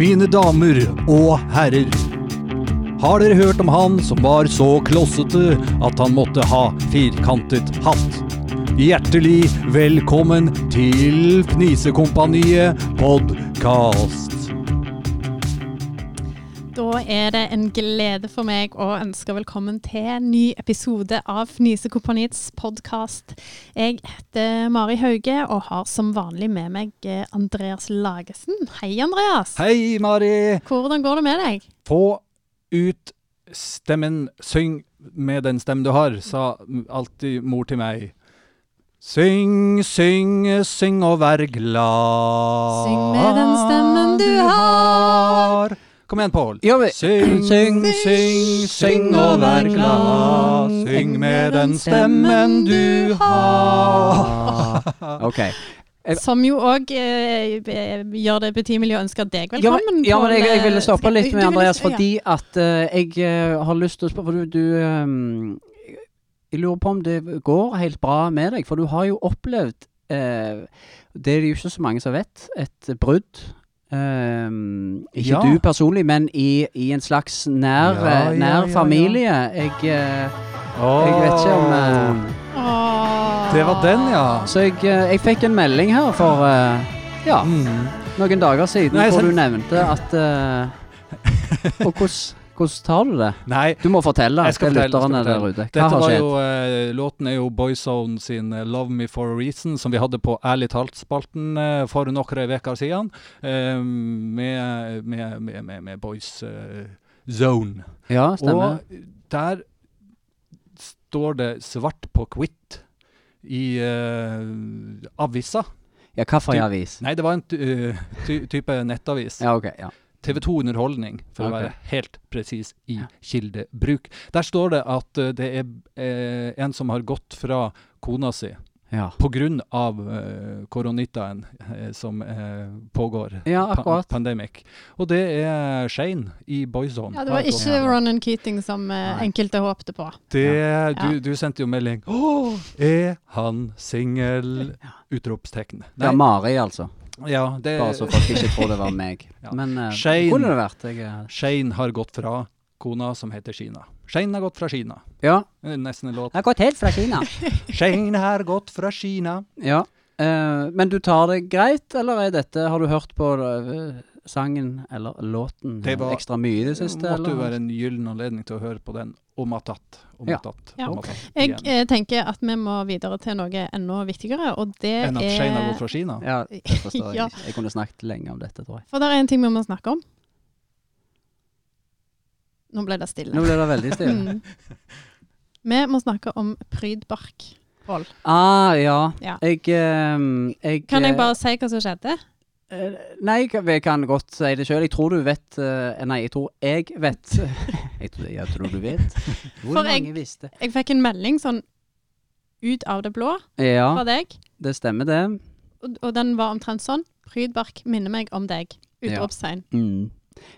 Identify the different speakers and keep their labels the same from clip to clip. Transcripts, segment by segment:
Speaker 1: Mine damer og herrer. Har dere hørt om han som var så klossete at han måtte ha firkantet hatt? Hjertelig velkommen til Fnisekompaniet podkast.
Speaker 2: Da er det en glede for meg å ønske velkommen til en ny episode av Fnisekompaniets podkast. Jeg heter Mari Hauge og har som vanlig med meg eh, Andreas Lagesen. Hei, Andreas.
Speaker 1: Hei, Mari!
Speaker 2: Hvordan går det med deg?
Speaker 1: Få ut stemmen. Syng med den stemmen du har, sa alltid mor til meg. Syng, syng, syng og vær glad.
Speaker 2: Syng med den stemmen du har.
Speaker 1: Kom igjen, Pål.
Speaker 3: Ja, men-
Speaker 1: Syng, syng, syng, syng og vær glad. Syng med den stemmen du har.
Speaker 3: Ah. OK. Jeg-
Speaker 2: Som jo òg eh, eh, gjør det betimelig å ønske deg
Speaker 3: Ja, men,
Speaker 2: velkommen.
Speaker 3: ja, men jeg,
Speaker 2: Pål,
Speaker 3: jeg ville stoppe
Speaker 2: skal- du
Speaker 3: litt med
Speaker 2: ville-
Speaker 3: Andreas,
Speaker 2: ja.
Speaker 3: fordi at eh, jeg eh, har lyst til å spørre For du, du eh, Jeg lurer på om det går helt bra med deg, for du har jo opplevd eh, Det er det jo ikke så mange som vet. Et brudd. Eh, ikke
Speaker 1: Ja.
Speaker 3: du personlig, men i, i en slags nær,
Speaker 1: Ja,
Speaker 3: eh,
Speaker 1: ja,
Speaker 3: nær
Speaker 1: ja, ja.
Speaker 3: familie. Jeg, eh, jeg vet ikke om eh,
Speaker 2: Åh.
Speaker 1: Det var den, ja.
Speaker 3: Så jeg, eh, jeg fikk en melding her for eh, ja,
Speaker 1: Mm.
Speaker 3: noen dager siden
Speaker 1: Nei,
Speaker 3: hvor
Speaker 1: sant.
Speaker 3: du nevnte at eh, Og hvordan hvordan tar du det?
Speaker 1: Nei,
Speaker 3: Du må fortelle
Speaker 1: Jeg skal
Speaker 3: til
Speaker 1: fortelle,
Speaker 3: lytterne
Speaker 1: jeg skal
Speaker 3: der ute. Hva
Speaker 1: Dette
Speaker 3: har
Speaker 1: var
Speaker 3: skjedd?
Speaker 1: jo, eh, låten er jo Boyzone sin eh, 'Love Me For A Reason', som vi hadde på Ærlig talt-spalten eh, for noen uker siden, eh, med, med, med, med, med Boys eh, Zone.
Speaker 3: Ja, stemmer.
Speaker 1: Og der står det svart på hvitt i eh, avisa.
Speaker 3: Ja, hvilken
Speaker 1: Ty-
Speaker 3: avis?
Speaker 1: Nei, det var en ty eh, ty type nettavis.
Speaker 3: Ja, ok. Ja.
Speaker 1: TV 2 Underholdning, for å
Speaker 3: Ok.
Speaker 1: være helt presis i
Speaker 3: Ja.
Speaker 1: kildebruk. Der står det at eh, det er eh, en som har gått fra kona si
Speaker 3: Ja,
Speaker 1: pga. Eh, koronitaen eh, som eh, pågår.
Speaker 3: ja
Speaker 1: pa-
Speaker 3: akkurat.
Speaker 1: Pandemic. Og det er Shane i Boyzone.
Speaker 2: Ja, det var ikke Ronan Keating som eh,
Speaker 3: Nei.
Speaker 2: enkelte håpte på.
Speaker 1: Det,
Speaker 2: Ja.
Speaker 1: du, du sendte jo melding Åh, er han singel? Utropstegn.
Speaker 3: Ja, Mari, altså.
Speaker 1: Ja, det
Speaker 3: Bare så folk ikke tror det var meg.
Speaker 1: Ja.
Speaker 3: Men eh,
Speaker 1: Shane.
Speaker 3: kunne det vært? Jeg, eh,
Speaker 1: Shane har gått fra kona som heter Kina. Shane har gått fra Kina.
Speaker 3: ja.
Speaker 1: Det er Nesten en låt.
Speaker 3: Jeg har gått helt fra Kina.
Speaker 1: Shane har gått fra Kina.
Speaker 3: ja. eh, men du tar det greit, eller er dette Har du hørt på eh, sangen eller låten
Speaker 1: Det var-
Speaker 3: ekstra mye i det siste?
Speaker 1: måtte
Speaker 3: eller?
Speaker 1: jo være en gyllen anledning til å høre på den om attat. Om
Speaker 3: Ja.
Speaker 1: attat.
Speaker 2: Ja.
Speaker 1: Om attat.
Speaker 2: Jeg
Speaker 1: igjen.
Speaker 2: eh, tenker at vi må videre til noe enda viktigere, og det
Speaker 1: Enn at Shane har gått
Speaker 2: er
Speaker 1: fra Kina?
Speaker 3: Ja, det forstår jeg.
Speaker 2: Ja.
Speaker 3: ikke. Jeg kunne snakket lenge om dette, tror jeg.
Speaker 2: For det er en ting vi må snakke om. Nå ble det
Speaker 3: Nå
Speaker 2: stille.
Speaker 3: ble det veldig stille.
Speaker 2: Mm. Vi må snakke om prydbark. Pål.
Speaker 3: Ah, ja.
Speaker 2: Ja.
Speaker 3: Jeg, ehm, jeg
Speaker 2: Kan jeg
Speaker 3: eh,
Speaker 2: bare si hva som skjedde?
Speaker 3: eh, Nei, jeg kan- jeg kan godt si det sjøl. Jeg tror du vet eh, Nei, jeg tror jeg vet jeg, tror, jeg tror du vet. Hvor
Speaker 2: For
Speaker 3: mange
Speaker 2: jeg-
Speaker 3: visste?
Speaker 2: Jeg fikk en melding sånn ut av det blå fra
Speaker 3: Ja,
Speaker 2: deg,
Speaker 3: det stemmer, det.
Speaker 2: og, og den var omtrent sånn. Prydbark minner meg om deg.
Speaker 3: Ja.
Speaker 2: Utropstegn.
Speaker 3: Mm.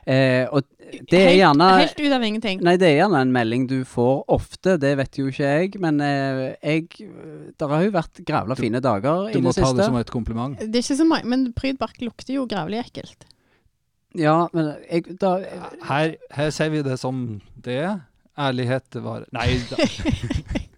Speaker 3: Eh, og det er
Speaker 2: Helt,
Speaker 3: gjerne
Speaker 2: helt ut av ingenting.
Speaker 3: Nei, det er gjerne en melding du får ofte, det vet jo ikke jeg. Men eh, jeg Det har jo vært grævla fine dager
Speaker 1: Du
Speaker 3: i
Speaker 1: må
Speaker 3: det
Speaker 1: ta det
Speaker 3: siste.
Speaker 1: som et kompliment.
Speaker 2: Det er ikke så mange, men prydbark lukter jo grævlig ekkelt.
Speaker 3: Ja, men jeg da, eh,
Speaker 1: Her, her ser vi det som det er. Ærlighet var Nei da.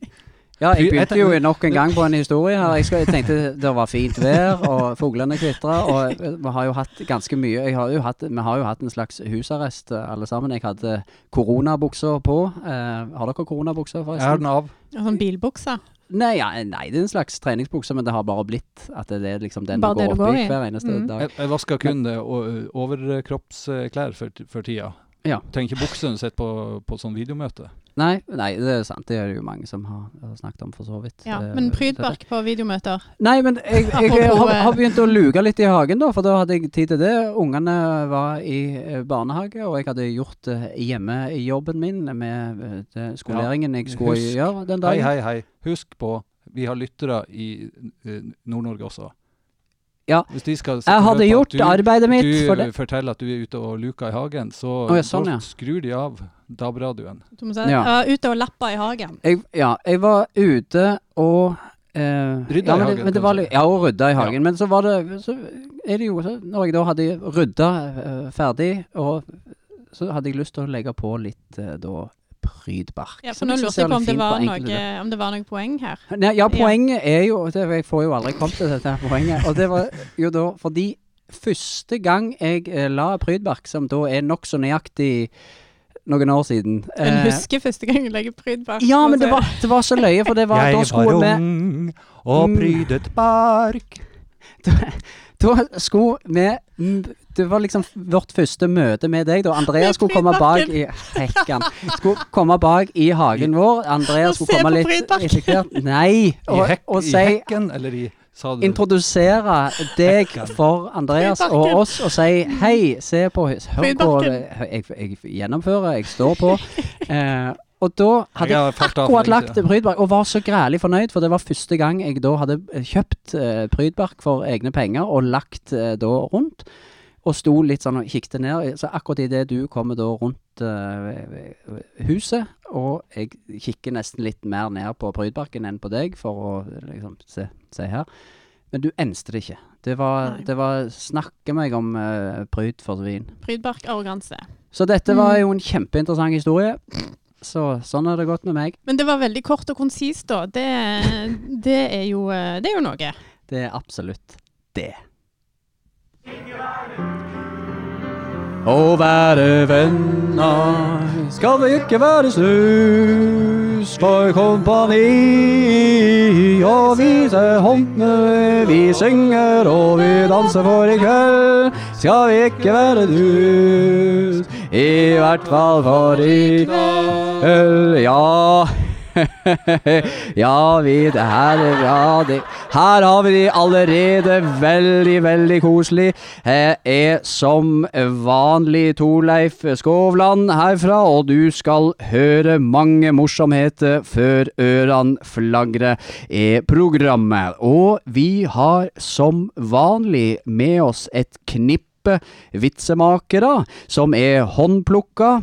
Speaker 3: Ja, jeg
Speaker 1: Jeg
Speaker 3: begynte
Speaker 1: tenker-
Speaker 3: jo nok en gang på en historie her. Jeg, skal, jeg tenkte det var fint vær, og fuglene kvitra, og vi har jo hatt ganske mye. Jeg har jo hatt, vi har jo hatt en slags husarrest eh, alle sammen. Jeg hadde koronabukser på. Eh, har dere koronabukser,
Speaker 1: Jeg har
Speaker 3: forresten?
Speaker 1: den av.
Speaker 2: Og Sånn bilbukse.
Speaker 3: Nei, ja, nei, det er en slags treningsbukse, men det har bare blitt at det er liksom den
Speaker 2: Bare
Speaker 3: du går
Speaker 2: det du
Speaker 3: opp
Speaker 2: går
Speaker 3: i
Speaker 2: i.
Speaker 3: hver eneste
Speaker 2: Mm.
Speaker 3: dag.
Speaker 1: Jeg, jeg vasker kun det o- overkroppsklær for, for tida.
Speaker 3: Ja.
Speaker 1: Trenger ikke bukse når du sitter på, på sånn videomøte.
Speaker 3: Nei, nei, det er sant. Det er det jo mange som har har snakket om, for så vidt.
Speaker 2: Ja,
Speaker 3: Eh,
Speaker 2: men
Speaker 3: dette.
Speaker 2: prydbark på videomøter.
Speaker 3: Nei, men jeg, jeg,
Speaker 2: Apropos,
Speaker 3: har,
Speaker 2: eh,
Speaker 3: har begynt å luke litt i hagen, da, for da hadde jeg tid til det. Ungene var i eh, barnehage, og jeg hadde gjort eh, hjemmejobben min med eh, det- skoleringen jeg skulle
Speaker 1: husk.
Speaker 3: gjøre den
Speaker 1: Hei,
Speaker 3: dagen.
Speaker 1: hei, hei. Husk på, vi har lyttere i eh, Nord-Norge også.
Speaker 3: Ja.
Speaker 1: Hvis de skal
Speaker 3: Jeg
Speaker 1: høre
Speaker 3: hadde
Speaker 1: på at
Speaker 3: gjort
Speaker 1: du-
Speaker 3: arbeidet mitt
Speaker 1: du
Speaker 3: for det.
Speaker 1: forteller at du er ute og luker i hagen, så
Speaker 3: Å, ja, sånn,
Speaker 1: da
Speaker 3: ja.
Speaker 1: skrur de av DAB-radioen.
Speaker 2: Du må si,
Speaker 3: Ja.
Speaker 2: ja. ute og lappa i hagen.
Speaker 3: Jeg, ja, jeg var ute og eh,
Speaker 4: Rydda
Speaker 3: ja,
Speaker 4: i
Speaker 3: men
Speaker 4: hagen,
Speaker 3: det, men
Speaker 4: kan
Speaker 3: det var,
Speaker 4: du
Speaker 3: litt-
Speaker 4: si.
Speaker 3: ja, og rydda i hagen.
Speaker 4: Ja.
Speaker 3: Men så var det Så er det jo så, Når jeg da hadde rydda eh, ferdig, og så hadde jeg lyst til å legge på litt eh, da prydbark.
Speaker 2: Ja,
Speaker 3: Så
Speaker 2: for nå
Speaker 3: det
Speaker 2: lurte
Speaker 3: ser
Speaker 2: jeg på om
Speaker 3: litt
Speaker 2: det
Speaker 3: fint
Speaker 2: var
Speaker 3: enkelte
Speaker 2: noe, om det var noe poeng her.
Speaker 3: Nei, ja, poenget er jo det, Jeg får jo aldri kommet til dette her poenget. Og det var jo da fordi første gang jeg eh, la Prydbark, som da er nokså nøyaktig noen år siden
Speaker 2: Men
Speaker 3: eh,
Speaker 2: husker første gang du legger pryd bak.
Speaker 3: Ja, men det
Speaker 2: altså.
Speaker 3: var, det var så løye, for det var da
Speaker 4: Jeg var
Speaker 3: skulle vi
Speaker 4: ung og
Speaker 3: Mm.
Speaker 4: prydet bark.
Speaker 3: Da skulle vi mm, Det var liksom vårt første møte med deg, da. Andrea
Speaker 2: Med
Speaker 3: skulle komme bak
Speaker 2: Prydbarken.
Speaker 3: i Hekkan. Skulle komme bak i hagen vår. Andrea
Speaker 2: Og se
Speaker 3: skulle komme
Speaker 2: på
Speaker 3: litt
Speaker 2: Prydbarken.
Speaker 3: etter hvert. Nei.
Speaker 4: I,
Speaker 3: Og,
Speaker 4: hek,
Speaker 3: og
Speaker 4: I
Speaker 3: si
Speaker 4: hekken, eller i sa du,
Speaker 3: introdusere deg
Speaker 4: Hekken.
Speaker 3: for Andreas og
Speaker 2: Prydbarken.
Speaker 3: oss og si hei, se på hus, hør på det. Jeg, jeg gjennomfører, jeg står på. Eh, og da hadde
Speaker 4: Jeg har
Speaker 3: jeg
Speaker 4: falt av for
Speaker 3: akkurat
Speaker 4: lenge
Speaker 3: lagt
Speaker 4: siden.
Speaker 3: Prydbark og var så grælig fornøyd, for det var første gang jeg da hadde eh, kjøpt eh, Prydbark for egne penger og lagt eh, da rundt. Og sto litt sånn og kikket ned. Så akkurat idet du kommer da rundt eh, huset, og jeg kikker nesten litt mer ned på Prydbarken enn på deg for å liksom se, se her. Men du enste det ikke. Det var,
Speaker 2: Nei.
Speaker 3: det var snakke meg om eh, pryd for svin.
Speaker 2: Prydbark arroganse.
Speaker 3: Så dette var jo en kjempeinteressant historie. Så sånn har det gått med meg.
Speaker 2: Men det var veldig kort og konsist, da. Det, det, er jo, eh, det er jo noe.
Speaker 3: Det er absolutt det. Å være venner
Speaker 4: Skal vi ikke være snus for kompani og vise håndene vi synger og vi danser for i kveld? Skal vi ikke være dus, i hvert fall for i kveld? Ja. ja, vi det her, er- ja, det, her har vi de allerede veldig, veldig koselig. Her er som vanlig Torleif Skovland herfra, og du skal høre mange morsomheter før ørene flagrer i programmet. Og vi har som vanlig med oss et knippe vitsemakere som er håndplukka.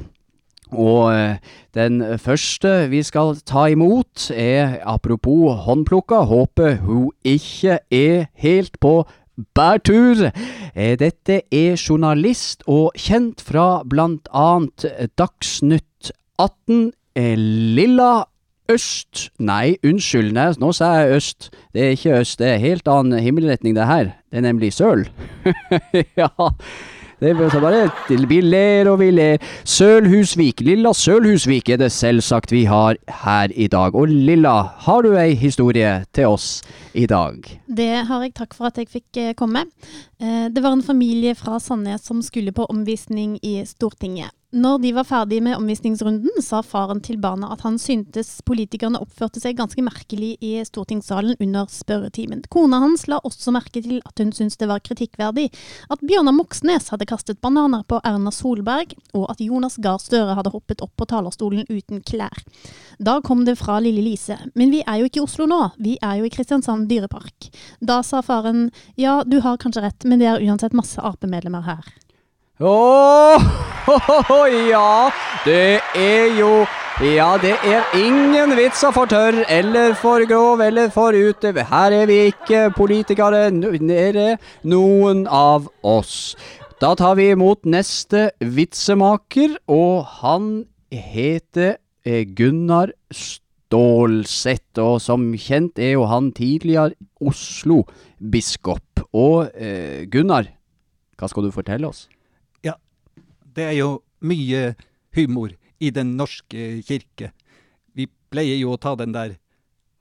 Speaker 4: Og eh, den første vi skal ta imot er, apropos håndplukka, håper hun ikke er helt på bærtur. Eh, Dette er journalist og kjent fra blant annet Dagsnytt 18, eh, Lilla Øst Nei, unnskyld, nei, nå sa jeg øst. Det er ikke øst, det er helt annen himmelretning det her. Det er nemlig søl. ja, det blir så bare Vi ler og vi ler. Sølhusvik, Lilla Sølhusvik er det selvsagt vi har her i dag. Og Lilla, har du ei historie til oss i dag?
Speaker 2: Det har jeg. Takk for at jeg fikk eh, komme. Eh, Det var en familie fra Sandnes som skulle på omvisning i Stortinget. Når de var ferdig med omvisningsrunden, sa faren til barna at han syntes politikerne oppførte seg ganske merkelig i stortingssalen under spørretimen. Kona hans la også merke til at hun syntes det var kritikkverdig at Bjørnar Moxnes hadde kastet bananer på Erna Solberg, og at Jonas Gahr Støre hadde hoppet opp på talerstolen uten klær. Da kom det fra lille Lise. Men vi er jo ikke i Oslo nå, vi er jo i Kristiansand dyrepark. Da sa faren ja, du har kanskje rett, men det er uansett masse Ap-medlemmer her.
Speaker 3: Åh, ja, det er jo Ja, det er ingen vitser for tørr eller for grov eller for ute. Her er vi ikke politikere, n- nede, noen av oss. Da tar vi imot neste vitsemaker, og han heter eh, Gunnar Stålsett. Og som kjent er jo han tidligere Oslo-biskop. Og eh, Gunnar, hva skal du fortelle oss?
Speaker 1: Det er jo mye humor i Den norske kirke. Vi pleier jo å ta den der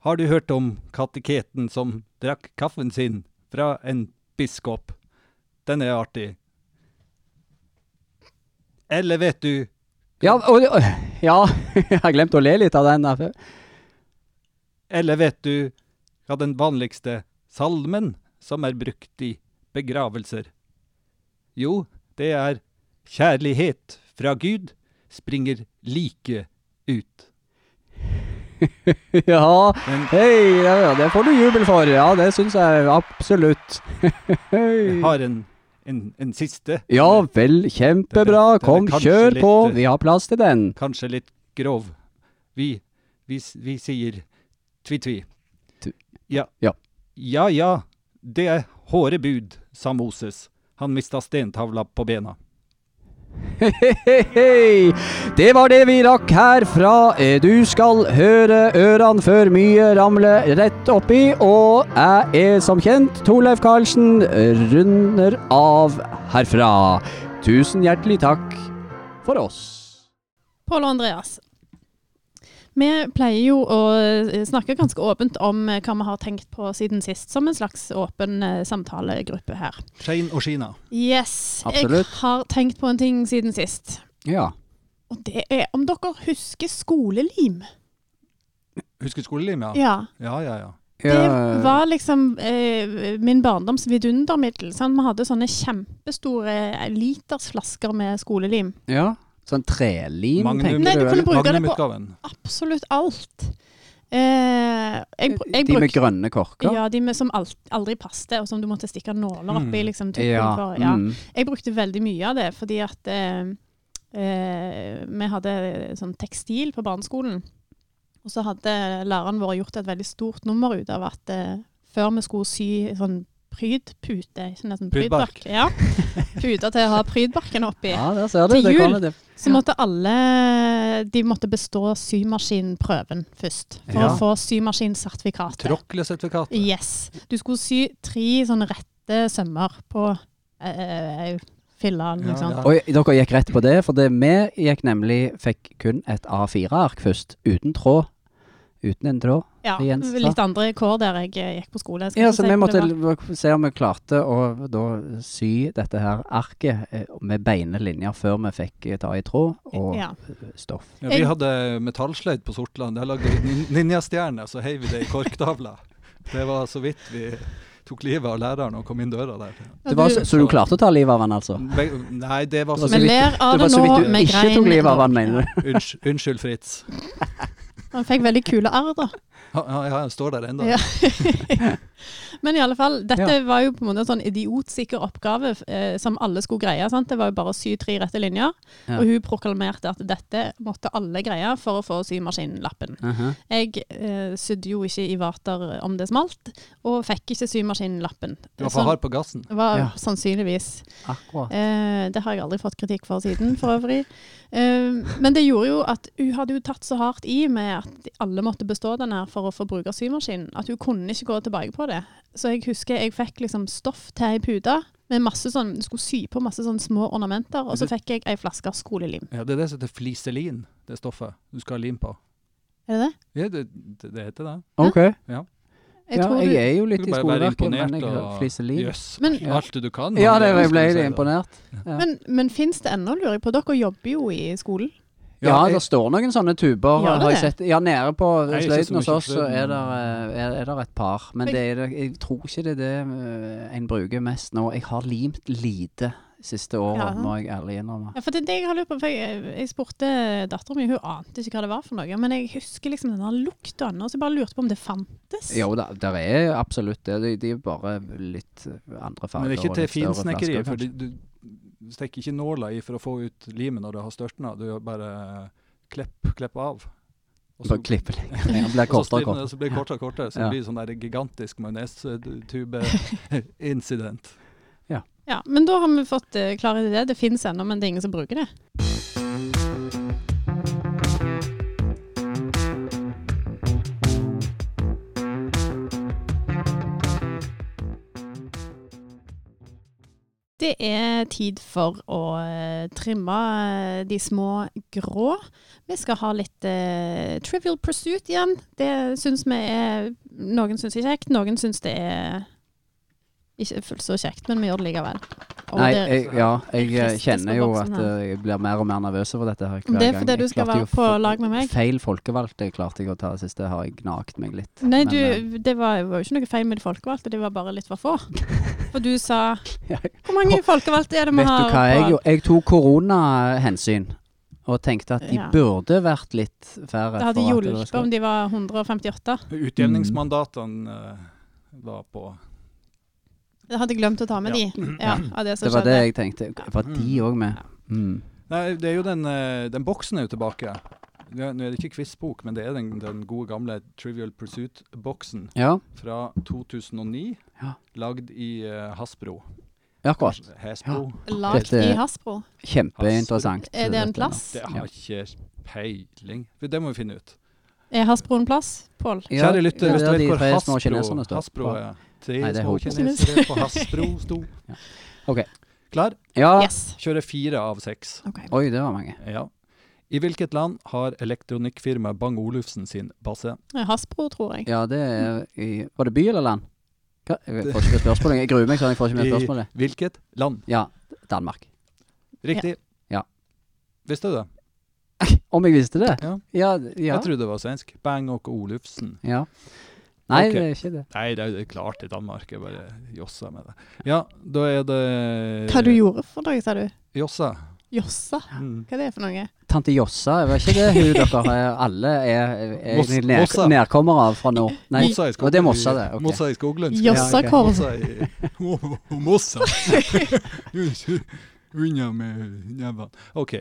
Speaker 1: Har du hørt om kateketen som drakk kaffen sin fra en biskop? Den er artig. Eller vet du
Speaker 3: Ja, og, og- ja, jeg har glemt å le litt av den. der før.
Speaker 1: Eller vet du hva den vanligste salmen som er brukt i begravelser? Jo, det er Kjærlighet fra Gud springer like ut.
Speaker 3: Ja,
Speaker 1: Men
Speaker 3: hei, ja, ja, det får du jubel for. Ja, det syns jeg absolutt.
Speaker 1: jeg har en, en, en siste,
Speaker 3: Mm. Ja vel, kjempebra. Kom, kjør
Speaker 1: eh.
Speaker 3: på. Vi har plass til den.
Speaker 1: kanskje litt grov. Vi, vi, s- vi sier tvi-tvi.
Speaker 3: Tu-
Speaker 1: Ja ja, det er hårde bud, sa Moses. Han mista stentavla på bena.
Speaker 3: Hei, hei. Det var det vi rakk herfra. Eh, Du skal høre ørene før mye ramler rett oppi, og jeg er som kjent Torleif Karlsen, runder av herfra. Tusen hjertelig takk for oss.
Speaker 2: Pål og Andreas. Vi pleier jo å eh, snakke ganske åpent om eh, hva vi har tenkt på siden sist, som en slags åpen eh, samtalegruppe her.
Speaker 1: Shein og Shina.
Speaker 2: Yes.
Speaker 3: Absolutt.
Speaker 2: Jeg har tenkt på en ting siden sist.
Speaker 3: Ja.
Speaker 2: Og det er om dere husker skolelim.
Speaker 1: Husker skolelim, ja?
Speaker 2: Ja.
Speaker 1: Ja, ja, ja.
Speaker 2: Det var liksom eh, min barndoms vidundermiddel. Sant? Vi hadde sånne kjempestore eh, litersflasker med skolelim.
Speaker 3: ja. Sånn trelim,
Speaker 1: Magnum.
Speaker 3: tenker
Speaker 2: Nei, du
Speaker 3: du?
Speaker 2: kunne
Speaker 3: eller?
Speaker 2: bruke det på
Speaker 1: Magnum-utgaven.
Speaker 2: absolutt alt. Eh, jeg, br- jeg
Speaker 3: De med
Speaker 2: brukte-
Speaker 3: grønne korker?
Speaker 2: Ja, de med, som alt, aldri passte, og som du måtte stikke nåler oppi.
Speaker 1: Mm.
Speaker 2: Liksom, tuppen for, ja.
Speaker 3: mm.
Speaker 2: Jeg brukte veldig mye av det, fordi at eh, eh, vi hadde sånn tekstil på barneskolen. Og så hadde læreren vår gjort et veldig stort nummer ut av at eh, før vi skulle sy sånn prydpute ikke nesten
Speaker 1: Prydbark.
Speaker 2: prydbark, Ja. Puter til å ha prydbarken oppi.
Speaker 3: ja, der ser du.
Speaker 2: Til
Speaker 3: det
Speaker 2: jul.
Speaker 3: kommer det.
Speaker 2: Så måtte alle De måtte bestå symaskinprøven først for
Speaker 1: Ja.
Speaker 2: å få symaskinsertifikatet.
Speaker 1: Tråklesertifikatet.
Speaker 2: Yes. Du skulle sy tre sånne rette sømmer på eh, filla eller noe
Speaker 1: Ja,
Speaker 2: sånt.
Speaker 1: ja.
Speaker 3: Og dere gikk rett på det, for det vi gikk nemlig fikk kun et A4-ark først, uten tråd. Uten en tråd.
Speaker 2: Ja,
Speaker 3: Det gjenstår.
Speaker 2: litt andre kår der jeg eh, gikk på skole. Jeg skal
Speaker 3: Ja,
Speaker 2: ikke si
Speaker 3: så vi
Speaker 2: hvor
Speaker 3: måtte
Speaker 2: det var.
Speaker 3: l- se om vi klarte å da sy dette her arket eh, med beine linjer før vi fikk eh, ta i tråd og
Speaker 2: ja.
Speaker 3: stoff.
Speaker 1: Ja, vi hadde metallsløyd på Sortland. Der lagde vi nin- ninjastjerne, så heiv vi det i korktavla. Det var så vidt vi tok livet av læreren og kom inn døra der.
Speaker 3: Det var, så, så du klarte å ta livet av han, altså?
Speaker 1: Be- Nei, det var så
Speaker 3: Det var
Speaker 2: Vi
Speaker 1: vidt.
Speaker 2: ler av det
Speaker 3: det var så
Speaker 2: nå,
Speaker 3: vidt du
Speaker 2: med
Speaker 3: ikke tok livet av han, mener du?
Speaker 1: Unnskyld, unnskyld Fritz.
Speaker 2: Man fikk veldig kule arr, da.
Speaker 1: Ja, ja, ja, han står der ennå.
Speaker 2: Ja. Men i alle fall, dette
Speaker 3: Ja.
Speaker 2: var jo på en måte en sånn idiotsikker oppgave eh, som alle skulle greie. sant? Det var jo bare å sy tre rette linjer.
Speaker 3: Ja.
Speaker 2: Og hun proklamerte at dette måtte alle greie for å få symaskinlappen.
Speaker 3: Mhm.
Speaker 2: Jeg eh, sydde jo ikke i vater om det smalt, og fikk ikke symaskinlappen.
Speaker 1: Du var for
Speaker 2: Sånn-
Speaker 1: hard på gassen.
Speaker 2: var
Speaker 3: Ja.
Speaker 2: sannsynligvis.
Speaker 3: Akkurat.
Speaker 2: Eh, det har jeg aldri fått kritikk for siden, for øvrig. Eh, men det gjorde jo at hun hadde jo tatt så hardt i med at alle måtte bestå den her for å få bruke symaskinen, at hun kunne ikke gå tilbake på det. Så jeg husker jeg fikk liksom stoff til ei pute med masse sånn, du skulle sy på masse sånn små ornamenter, og så fikk jeg ei flaske skolelim.
Speaker 1: Ja, det er det som heter fliselin, det stoffet du skal ha lim på.
Speaker 2: Er det det?
Speaker 1: Ja, det, det det heter det.
Speaker 3: OK.
Speaker 2: Jeg
Speaker 3: ja,
Speaker 2: tror
Speaker 3: jeg
Speaker 2: du-
Speaker 3: er jo litt
Speaker 1: Du
Speaker 3: i
Speaker 1: bare være
Speaker 3: skoleverket, men
Speaker 1: imponert
Speaker 3: jeg
Speaker 1: og-
Speaker 3: fliser liv.
Speaker 1: Jøss,
Speaker 2: Men-
Speaker 1: alt det du kan.
Speaker 3: Ja, det,
Speaker 1: Andreas,
Speaker 3: jeg ble
Speaker 1: skulle si det.
Speaker 3: imponert.
Speaker 2: Men, men fins det ennå, lurer jeg på? Dere jobber jo i skolen.
Speaker 3: Ja,
Speaker 1: jeg-
Speaker 3: det står noen sånne
Speaker 2: Gjør
Speaker 3: tuber.
Speaker 2: det
Speaker 3: har jeg
Speaker 2: det?
Speaker 3: sett. Ja, Nede på
Speaker 1: Nei, ikke så
Speaker 3: sløyden
Speaker 1: mye
Speaker 3: hos oss så
Speaker 1: sløyden,
Speaker 3: er
Speaker 1: men-
Speaker 3: det, er, er der et par. Men
Speaker 2: Men-
Speaker 3: det er, det- jeg tror ikke det er det eh, en bruker mest nå. Jeg har limt lite siste året,
Speaker 2: Ja.
Speaker 3: må jeg ærlig innrømme.
Speaker 2: Ja, for det er det jeg har lurt på. For jeg, jeg spurte dattera mi, hun ante ikke hva det var for noe. Men jeg husker liksom den der lukta ennå, så jeg bare lurte på om det fantes.
Speaker 3: Jo da, der er absolutt det. De, de er bare litt eh, andre farger.
Speaker 1: Men det er ikke
Speaker 3: og
Speaker 1: til
Speaker 3: litt større
Speaker 1: finsnekkeri,
Speaker 3: flasker,
Speaker 1: for
Speaker 3: kanskje.
Speaker 1: du du stikker ikke nåla i for å få ut limet når du har størtna. Du bare klepp, klepp av. Og så-
Speaker 3: Bare klippe litt. Det blir
Speaker 1: Og så
Speaker 3: kortere og
Speaker 1: strimler det,
Speaker 3: kortere.
Speaker 1: Så blir det kortere og kortere, så
Speaker 3: Ja.
Speaker 1: det blir sånn der gigantisk majonestube-incident.
Speaker 2: Ja, Men da har vi fått eh, klarhet i det. Det fins ennå, men det er ingen som bruker det. Det er tid for å eh, trimme eh, de små grå. Vi skal ha litt eh, Trivial Pursuit igjen. Det syns vi er Noen syns det er kjekt, noen syns det er ikke fullt så kjekt, men vi gjør det likevel. Og
Speaker 3: Nei,
Speaker 2: det,
Speaker 3: jeg, ja, jeg eh,
Speaker 2: Kristes
Speaker 3: kjenner jo
Speaker 2: voksen
Speaker 3: at
Speaker 2: her.
Speaker 3: eh, jeg blir mer og mer nervøs over dette her hver gang.
Speaker 2: det er fordi
Speaker 3: Jeg
Speaker 2: du skal
Speaker 3: klarte jo
Speaker 2: være på
Speaker 3: f-
Speaker 2: lag med meg.
Speaker 3: Feil folkevalgte klarte jeg å ta det siste, har jeg gnagt meg litt.
Speaker 2: Nei,
Speaker 3: men, eh,
Speaker 2: du, det var var jo ikke noe feil med de folkevalgte, de var bare litt for få. For du sa
Speaker 3: Ja,
Speaker 2: Hvor mange folkevalgte er det vi
Speaker 3: Vet
Speaker 2: har?
Speaker 3: du hva, jeg,
Speaker 2: på-
Speaker 3: gjorde? jeg tok koronahensyn og tenkte at de
Speaker 2: Ja.
Speaker 3: burde vært litt
Speaker 2: Det
Speaker 3: færre. for at
Speaker 2: hadde hjulpet
Speaker 3: skulle-
Speaker 2: om de var 158.
Speaker 1: Utjevningsmandatene eh, var på
Speaker 2: Jeg hadde glemt å ta med de. Ja, Mm. av det som
Speaker 3: Det var det
Speaker 2: skjedde.
Speaker 3: jeg tenkte. Var de òg med? Mm.
Speaker 1: Nei, det er jo den, eh, den boksen er jo tilbake. Nå nå er det ikke quizbok, men det er den, den gode gamle Trivial Pursuit-boksen
Speaker 3: Ja,
Speaker 1: fra 2009,
Speaker 3: Ja.
Speaker 1: lagd i eh, Hasbro.
Speaker 3: akkurat.
Speaker 1: Hasbro.
Speaker 2: Lagd i
Speaker 3: Dette-
Speaker 2: Hasbro.
Speaker 3: Kjempeinteressant.
Speaker 2: Er det en
Speaker 3: dette nå.
Speaker 2: plass?
Speaker 1: Det har ikke peiling. Det må vi finne ut.
Speaker 2: Er Hasbro en plass, Pål?
Speaker 3: Ja,
Speaker 1: Kjære lytter, hvis
Speaker 3: det
Speaker 1: du
Speaker 3: er
Speaker 1: vet
Speaker 3: de
Speaker 1: hvor
Speaker 3: tre små
Speaker 1: Hasbro,
Speaker 3: kineserne står.
Speaker 1: Hasbro er Tre
Speaker 3: Nei, det er
Speaker 1: små
Speaker 3: Hokus.
Speaker 1: kinesere på Hasbro sto.
Speaker 3: Ja. Ok.
Speaker 1: Klar?
Speaker 3: Ja.
Speaker 2: Yes.
Speaker 1: Kjører fire av seks.
Speaker 2: Ok.
Speaker 3: Oi, det var mange.
Speaker 1: Ja. I hvilket land har elektronikkfirmaet Bang Olufsen sin base?
Speaker 2: Det er Hasbro, tror jeg.
Speaker 3: Ja, det er i Var det by eller land? Hva? Jeg får ikke med spørsmålet. Jeg gruer meg sånn, jeg får ikke med
Speaker 1: I-
Speaker 3: spørsmålet.
Speaker 1: Hvilket land?
Speaker 3: Ja, Danmark.
Speaker 1: Riktig.
Speaker 3: Ja.
Speaker 1: Visste du det?
Speaker 3: Om jeg visste det?
Speaker 1: Ja.
Speaker 3: Ja. d- ja.
Speaker 1: Jeg trodde det var svensk. Bang og Olufsen.
Speaker 3: ja. Nei,
Speaker 1: Ok.
Speaker 3: det er ikke det.
Speaker 1: Nei, det er jo klart i Danmark. Jeg bare jossa med det. Ja, da er det
Speaker 2: Hva du gjorde for noe, sa du?
Speaker 1: Jossa.
Speaker 2: Jossa?
Speaker 1: Mm.
Speaker 2: Hva er det for noe?
Speaker 3: Tante Jossa, var ikke det hun dere eh, alle er, er
Speaker 1: Moss-
Speaker 3: egentlig ned,
Speaker 1: Mossa.
Speaker 3: nedkommere av fra nord? Nei,
Speaker 1: Mossa i
Speaker 3: og det er Mossa, det. ok.
Speaker 1: Mossa i Skoglund. skal jeg si.
Speaker 2: Jossakorv.
Speaker 1: Mossa i Mo- Mossa. Unna med nevene. OK.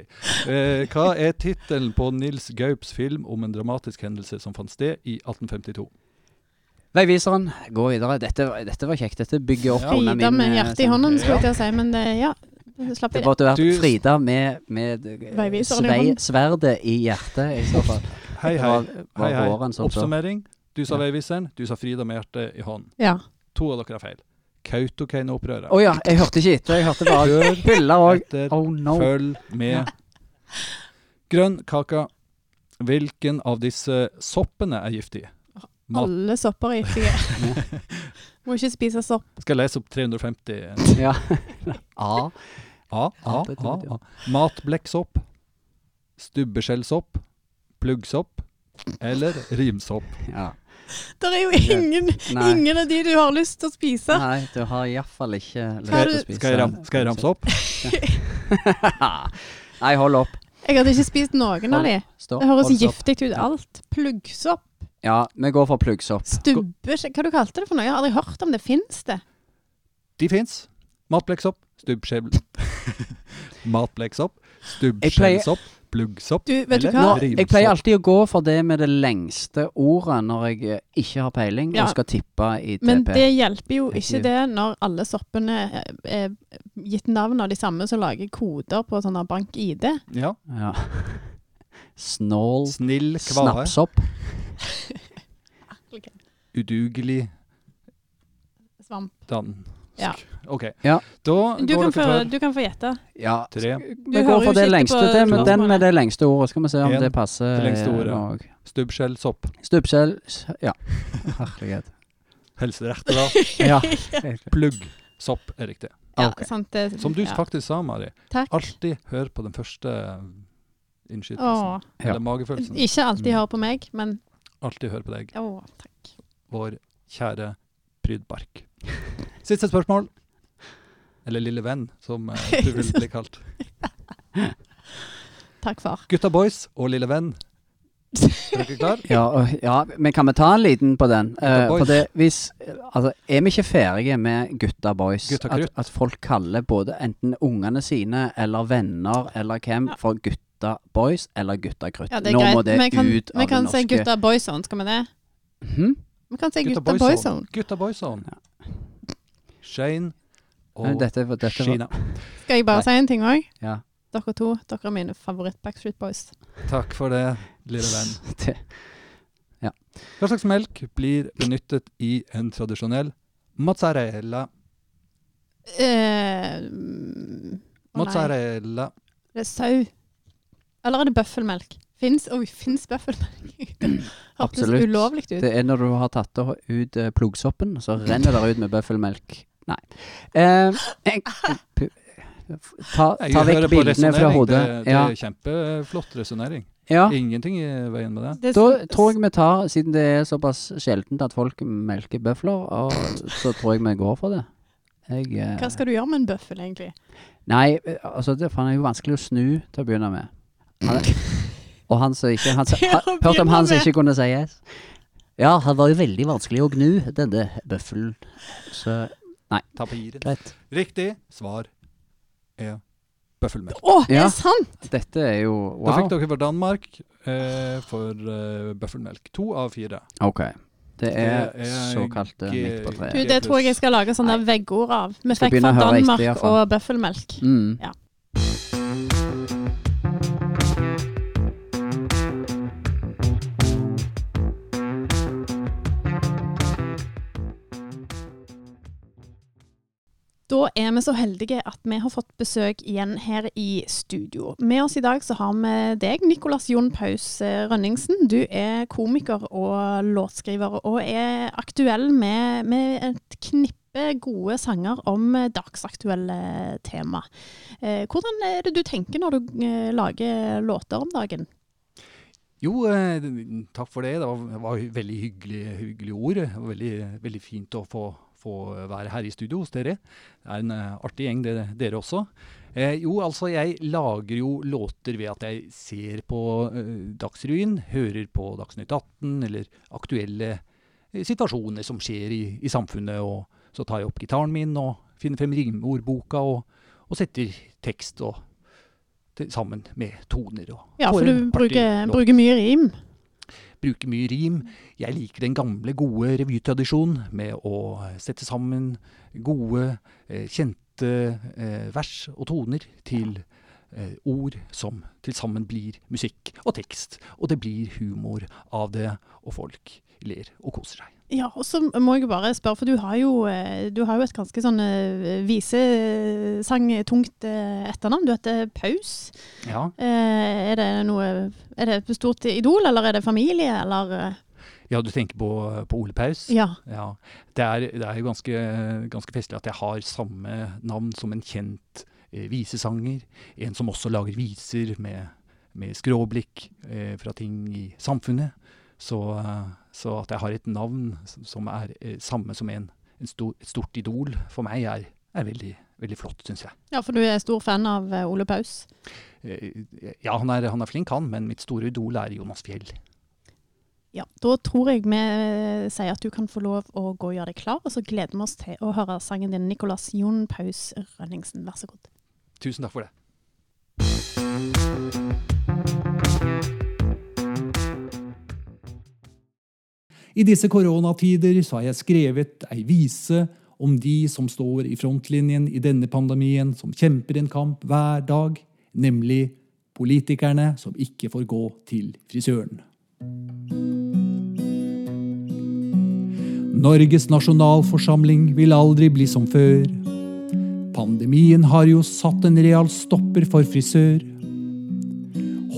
Speaker 1: Eh, hva er tittelen på Nils Gaups film om en dramatisk hendelse som fant sted i 1852?
Speaker 3: Veiviseren, gå videre. Dette, var- dette var kjekt. Dette bygger opp
Speaker 1: Ja.
Speaker 3: under
Speaker 2: Frida
Speaker 3: min
Speaker 2: med
Speaker 3: eh,
Speaker 2: hjertet i
Speaker 3: sånn-
Speaker 2: hånden, skulle jeg til å si, men det, ja. du Slapp i
Speaker 3: Det
Speaker 2: det.
Speaker 3: burde vært
Speaker 1: Du-
Speaker 3: Frida med, med eh,
Speaker 2: Veiviseren i
Speaker 3: svei,
Speaker 2: hånden.
Speaker 3: sverdet i hjertet, i så fall.
Speaker 1: Hei,
Speaker 3: Det
Speaker 1: hei.
Speaker 3: var- var
Speaker 1: hei, hei.
Speaker 3: våren som så.
Speaker 1: Oppsummering. Du sa
Speaker 3: Ja.
Speaker 1: Veiviseren, du sa Frida med hjertet i hånd.
Speaker 2: Ja.
Speaker 1: To av dere har feil. Kautokeino-opprøret.
Speaker 3: Å ja, jeg hørte ikke etter. Jeg hørte bare
Speaker 1: Hør
Speaker 3: hyller òg.
Speaker 1: etter.
Speaker 3: Oh no.
Speaker 1: Følg med. Grønn kaka. Hvilken av disse soppene er giftig? Mat.
Speaker 2: Alle sopper er giftige. Må ikke spise sopp.
Speaker 1: Skal jeg lese opp 350
Speaker 3: Ja. A.
Speaker 1: A, A,
Speaker 3: Ja, det
Speaker 1: A,
Speaker 3: tror jeg.
Speaker 1: A. Matblekksopp, stubbeskjellsopp, pluggsopp eller rimsopp.
Speaker 3: Ja.
Speaker 2: Det er jo ingen,
Speaker 3: Nei.
Speaker 2: ingen av de du har lyst til å spise.
Speaker 3: Nei, du har iallfall ikke lyst
Speaker 2: Skal
Speaker 3: til
Speaker 2: du-
Speaker 3: å spise
Speaker 1: Skal jeg, ram, skal jeg ramse opp?
Speaker 3: Nei, hold opp.
Speaker 2: Jeg hadde ikke spist noen av de.
Speaker 3: Stå.
Speaker 2: Det høres
Speaker 3: Hold opp.
Speaker 2: giftig ut alt. Pluggsopp,
Speaker 3: Ja, vi går for pluggsopp.
Speaker 2: stubbe Hva du kalte det for noe? Jeg har aldri hørt om det. Fins det?
Speaker 1: De fins. Matblekksopp, stubbskjell Matblekksopp, stubbskjellsopp, pluggsopp
Speaker 2: Du, vet du
Speaker 1: Eller-
Speaker 2: hva?
Speaker 1: Ja.
Speaker 3: Nå, jeg pleier alltid å gå for det med det lengste ordet når jeg eh, ikke har peiling
Speaker 2: Ja.
Speaker 3: og skal tippe i TP.
Speaker 2: Men det hjelper jo
Speaker 3: Ikke-
Speaker 2: ikke det når alle soppene er- er gitt navn av de samme som lager koder på sånn bank-ID.
Speaker 1: Ja.
Speaker 3: Ja. Snål,
Speaker 1: Snill kvare,
Speaker 3: snapsopp,
Speaker 1: udugelig
Speaker 2: Svamp.
Speaker 1: dansk.
Speaker 2: Ja.
Speaker 1: OK.
Speaker 3: Ja.
Speaker 1: Da går
Speaker 2: Du kan,
Speaker 1: dere
Speaker 2: få,
Speaker 1: for
Speaker 2: du kan få gjette.
Speaker 3: Ja.
Speaker 1: Tre.
Speaker 3: Vi
Speaker 2: hører
Speaker 3: går
Speaker 2: jo
Speaker 3: for
Speaker 2: ikke
Speaker 3: det lengste
Speaker 2: på
Speaker 3: til, men den
Speaker 2: spørsmålet.
Speaker 3: med det lengste ordet. Skal vi se om
Speaker 1: En.
Speaker 3: det passer. eh,
Speaker 1: Det lengste ordet.
Speaker 3: nå òg.
Speaker 1: Stubbskjellsopp.
Speaker 3: Stubbskjell s- Ja. Herlighet.
Speaker 1: Helserett, da.
Speaker 3: Ja.
Speaker 1: Pluggsopp er riktig.
Speaker 2: Ja,
Speaker 3: Ok.
Speaker 2: sant det.
Speaker 1: Som du
Speaker 2: ja.
Speaker 1: faktisk sa, Mari.
Speaker 2: Takk.
Speaker 1: Alltid hør på den første eh, innskytelsen.
Speaker 2: Åh.
Speaker 3: Ja.
Speaker 1: Eller magefølelsen.
Speaker 2: Ikke alltid
Speaker 1: Mm.
Speaker 2: hør på meg, men
Speaker 1: Alltid hør på deg,
Speaker 2: å, takk.
Speaker 1: vår kjære Prydbark. Siste spørsmål. Eller lille venn, som eh, du vil bli kalt.
Speaker 2: Takk, far.
Speaker 1: Gutta boys og lille venn. Er dere klar?
Speaker 3: Ja, og- ja, men kan vi ta en liten på den?
Speaker 1: Gutta
Speaker 3: Eh,
Speaker 1: boys.
Speaker 3: for det, hvis, altså, er vi ikke ferdige med Gutta Boys?
Speaker 1: Gutta
Speaker 3: at,
Speaker 1: krutt.
Speaker 3: at folk kaller både enten ungene sine eller venner eller hvem
Speaker 2: Ja.
Speaker 3: for Gutta Boys eller Gutta Krutt.
Speaker 2: Ja, det er
Speaker 3: Nå
Speaker 2: greit.
Speaker 3: må det
Speaker 2: vi kan,
Speaker 3: ut av
Speaker 2: vi kan
Speaker 3: det
Speaker 2: si
Speaker 3: norske.
Speaker 2: gutta boyzone, skal vi det?
Speaker 3: Mhm.
Speaker 2: Vi kan si
Speaker 1: Gutta boyzone.
Speaker 2: gutta boyzone.
Speaker 1: Gutta boys on. Shane Sånn.
Speaker 3: Nei,
Speaker 1: og
Speaker 3: Dette, var- dette var
Speaker 1: Sheena.
Speaker 2: Skal jeg bare
Speaker 3: Nei.
Speaker 2: si en ting òg?
Speaker 3: Ja.
Speaker 2: Dere to, dere er mine favoritt-Backstreet Boys.
Speaker 1: Takk for det, lille venn.
Speaker 3: Det-
Speaker 1: Hva slags melk blir benyttet i en tradisjonell mozzarella?
Speaker 2: Eh, mm, å nei.
Speaker 1: Mozzarella.
Speaker 2: Det er sau. Eller er det bøffelmelk? Fins Oi, fins bøffelmelk? Det Hørtes
Speaker 3: Absolutt.
Speaker 2: ulovlig ut.
Speaker 3: Det er når du har tatt det ut eh, pluggsoppen, så renner det ut med bøffelmelk. Nei. Eh, jeg, pu- ta,
Speaker 1: Jeg
Speaker 3: ta vekk
Speaker 1: hører på
Speaker 3: bildene fra
Speaker 1: resonering.
Speaker 3: hodet.
Speaker 1: Det, det
Speaker 3: Ja,
Speaker 1: er kjempeflott resonnering.
Speaker 3: ja.
Speaker 1: Ingenting i veien med det.
Speaker 2: Det
Speaker 3: Da
Speaker 2: s-
Speaker 3: tror jeg vi tar, siden det er såpass sjeldent at folk melker bøfler, og så tror jeg vi går for det. Jeg, eh,
Speaker 2: Hva skal du gjøre med en bøffel, egentlig?
Speaker 3: Nei, eh, altså det faen, er jo vanskelig å snu til å begynne med. Han, og han som ikke han, som-
Speaker 2: Til å
Speaker 3: han, Hørte om
Speaker 2: begynne
Speaker 3: han som
Speaker 2: med.
Speaker 3: ikke kunne si yes. Ja, han var jo veldig vanskelig å gnu, denne bøffelen. Så
Speaker 1: Tapiren.
Speaker 3: greit.
Speaker 1: Riktig svar er bøffelmel.
Speaker 2: Å, er
Speaker 3: Ja.
Speaker 2: det sant?
Speaker 3: Dette er jo
Speaker 1: Da fikk
Speaker 3: wow.
Speaker 1: dere fra Danmark eh, for eh, bøffelmelk. To av fire.
Speaker 3: OK. Det er
Speaker 1: Det er
Speaker 3: såkalt eh, midt på
Speaker 2: Du,
Speaker 3: treet.
Speaker 1: gøy.
Speaker 2: det tror jeg jeg skal lage sånne veggord av. Vi
Speaker 3: Skal
Speaker 2: fikk
Speaker 3: begynne
Speaker 2: fra
Speaker 3: å høre riktig,
Speaker 2: Danmark
Speaker 3: i hvert fall.
Speaker 2: og bøffelmelk.
Speaker 3: Mm.
Speaker 2: Da er vi så heldige at vi har fått besøk igjen her i studio. Med oss i dag så har vi deg, Nikolas Jon Paus eh, Rønningsen. Du er komiker og låtskriver, og er aktuell med, med et knippe gode sanger om eh, dagsaktuelle tema. Eh, Hvordan er det du tenker når du eh, lager låter om dagen?
Speaker 1: Jo, eh, d- takk for det. Det var, det var veldig hyggelige, hyggelige ord. Det var Veldig, veldig fint å få, få være her i studio hos dere. Det er en eh, artig gjeng, dere, dere også. Eh, jo, altså, jeg lager jo låter ved at jeg ser på eh, Dagsrevyen, hører på Dagsnytt 18 eller aktuelle eh, situasjoner som skjer i, i samfunnet. Og så tar jeg opp gitaren min og finner frem rimordboka og, og setter tekst og til, sammen med toner. Og
Speaker 2: Ja,
Speaker 1: får
Speaker 2: for
Speaker 1: en
Speaker 2: du
Speaker 1: artig
Speaker 2: bruker,
Speaker 1: låt
Speaker 2: bruker mye rim.
Speaker 1: bruker mye rim. Jeg liker den gamle, gode revytradisjonen med å eh, sette sammen gode, eh, kjente eh, vers og toner til eh, ord som til sammen blir musikk og tekst. Og det blir humor av det, og folk ler og koser seg.
Speaker 2: Ja, og så må jeg bare spørre, for du har jo, eh, du har jo et ganske sånn eh, visesangtungt eh, etternavn. Du heter Paus.
Speaker 1: Ja.
Speaker 2: Eh, Er det noe Er det et stort idol, eller er det familie, eller eh,
Speaker 1: ja, du tenker på, på Ole Paus?
Speaker 2: Ja.
Speaker 1: Ja. Det er, det er jo ganske, ganske festlig at jeg har samme navn som en kjent eh, visesanger. En som også lager viser med, med skråblikk eh, fra ting i samfunnet. Så, eh, så at jeg har et navn s- som er eh, samme som en, en stor, et stort idol for meg, er, er veldig, veldig flott, syns jeg.
Speaker 2: ja, for du er stor fan av eh, Ole Paus.
Speaker 1: Eh, Ja, han er, han er flink, han, men mitt store idol er Jonas Fjell.
Speaker 2: Ja, Da tror jeg vi eh, sier at du kan få lov å gå og gjøre deg klar, og så gleder vi oss til å høre sangen din, Nicolas Jon Paus Rønningsen. Vær så god.
Speaker 1: Tusen takk for det.
Speaker 5: I disse koronatider så har jeg skrevet ei vise om de som står i frontlinjen i denne pandemien, som kjemper en kamp hver dag, nemlig politikerne som ikke får gå til frisøren. Norges nasjonalforsamling vil aldri bli som før. Pandemien har jo satt en real stopper for frisør.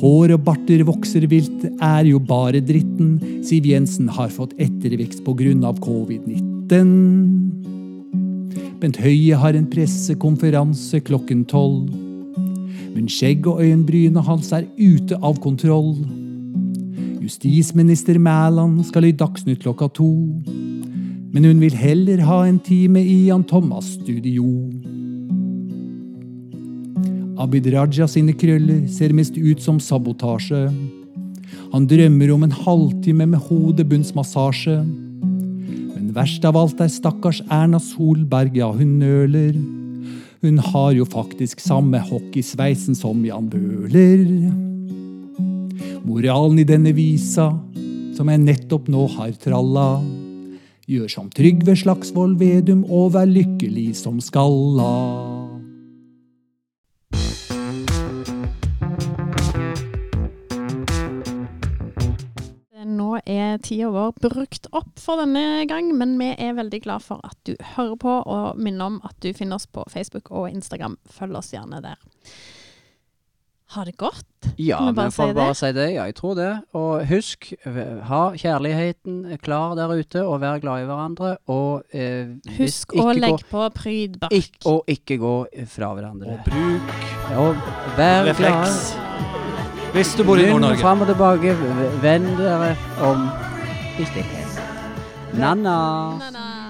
Speaker 5: Hår og barter vokser vilt, er jo bare dritten. Siv Jensen har fått ettervekst pga. covid-19. Bent Høie har en pressekonferanse klokken tolv. Men skjegg og øyenbrynet hans er ute av kontroll. Justisminister Mæland skal i Dagsnytt klokka to. Men hun vil heller ha en time i Jan Thomas' studio. Abid Raja sine krøller ser mest ut som sabotasje. Han drømmer om en halvtime med hodebunnsmassasje. Men verst av alt er stakkars Erna Solberg, ja, hun nøler. Hun har jo faktisk samme hockeysveisen som Jan Bøhler. Moralen i denne visa, som jeg nettopp nå har tralla, gjør som Trygve Slagsvold Vedum og vær lykkelig som skalla.
Speaker 2: Nå er tida vår brukt opp for denne gang, men vi er veldig glad for at du hører på, og minner om at du finner oss på Facebook og Instagram. Følg oss gjerne der. Ha det godt.
Speaker 3: Ja,
Speaker 2: Kan vi
Speaker 3: vi
Speaker 2: bare si
Speaker 3: får
Speaker 2: det?
Speaker 3: bare si det. Ja, jeg tror det. Og husk, v- ha kjærligheten klar der ute, og vær glad i hverandre. Og eh, hvis
Speaker 2: Husk å
Speaker 3: ikke
Speaker 2: legge på prydbark.
Speaker 3: gå, ikk- Og ikke gå fra hverandre.
Speaker 1: Og bruk
Speaker 3: Og vær glad.
Speaker 1: refleks hvis du bor i
Speaker 3: Begynn
Speaker 1: Nord-Norge.
Speaker 3: fram og tilbake. v- Vend dere om i stillhet. Nanna.
Speaker 2: Nei, nei.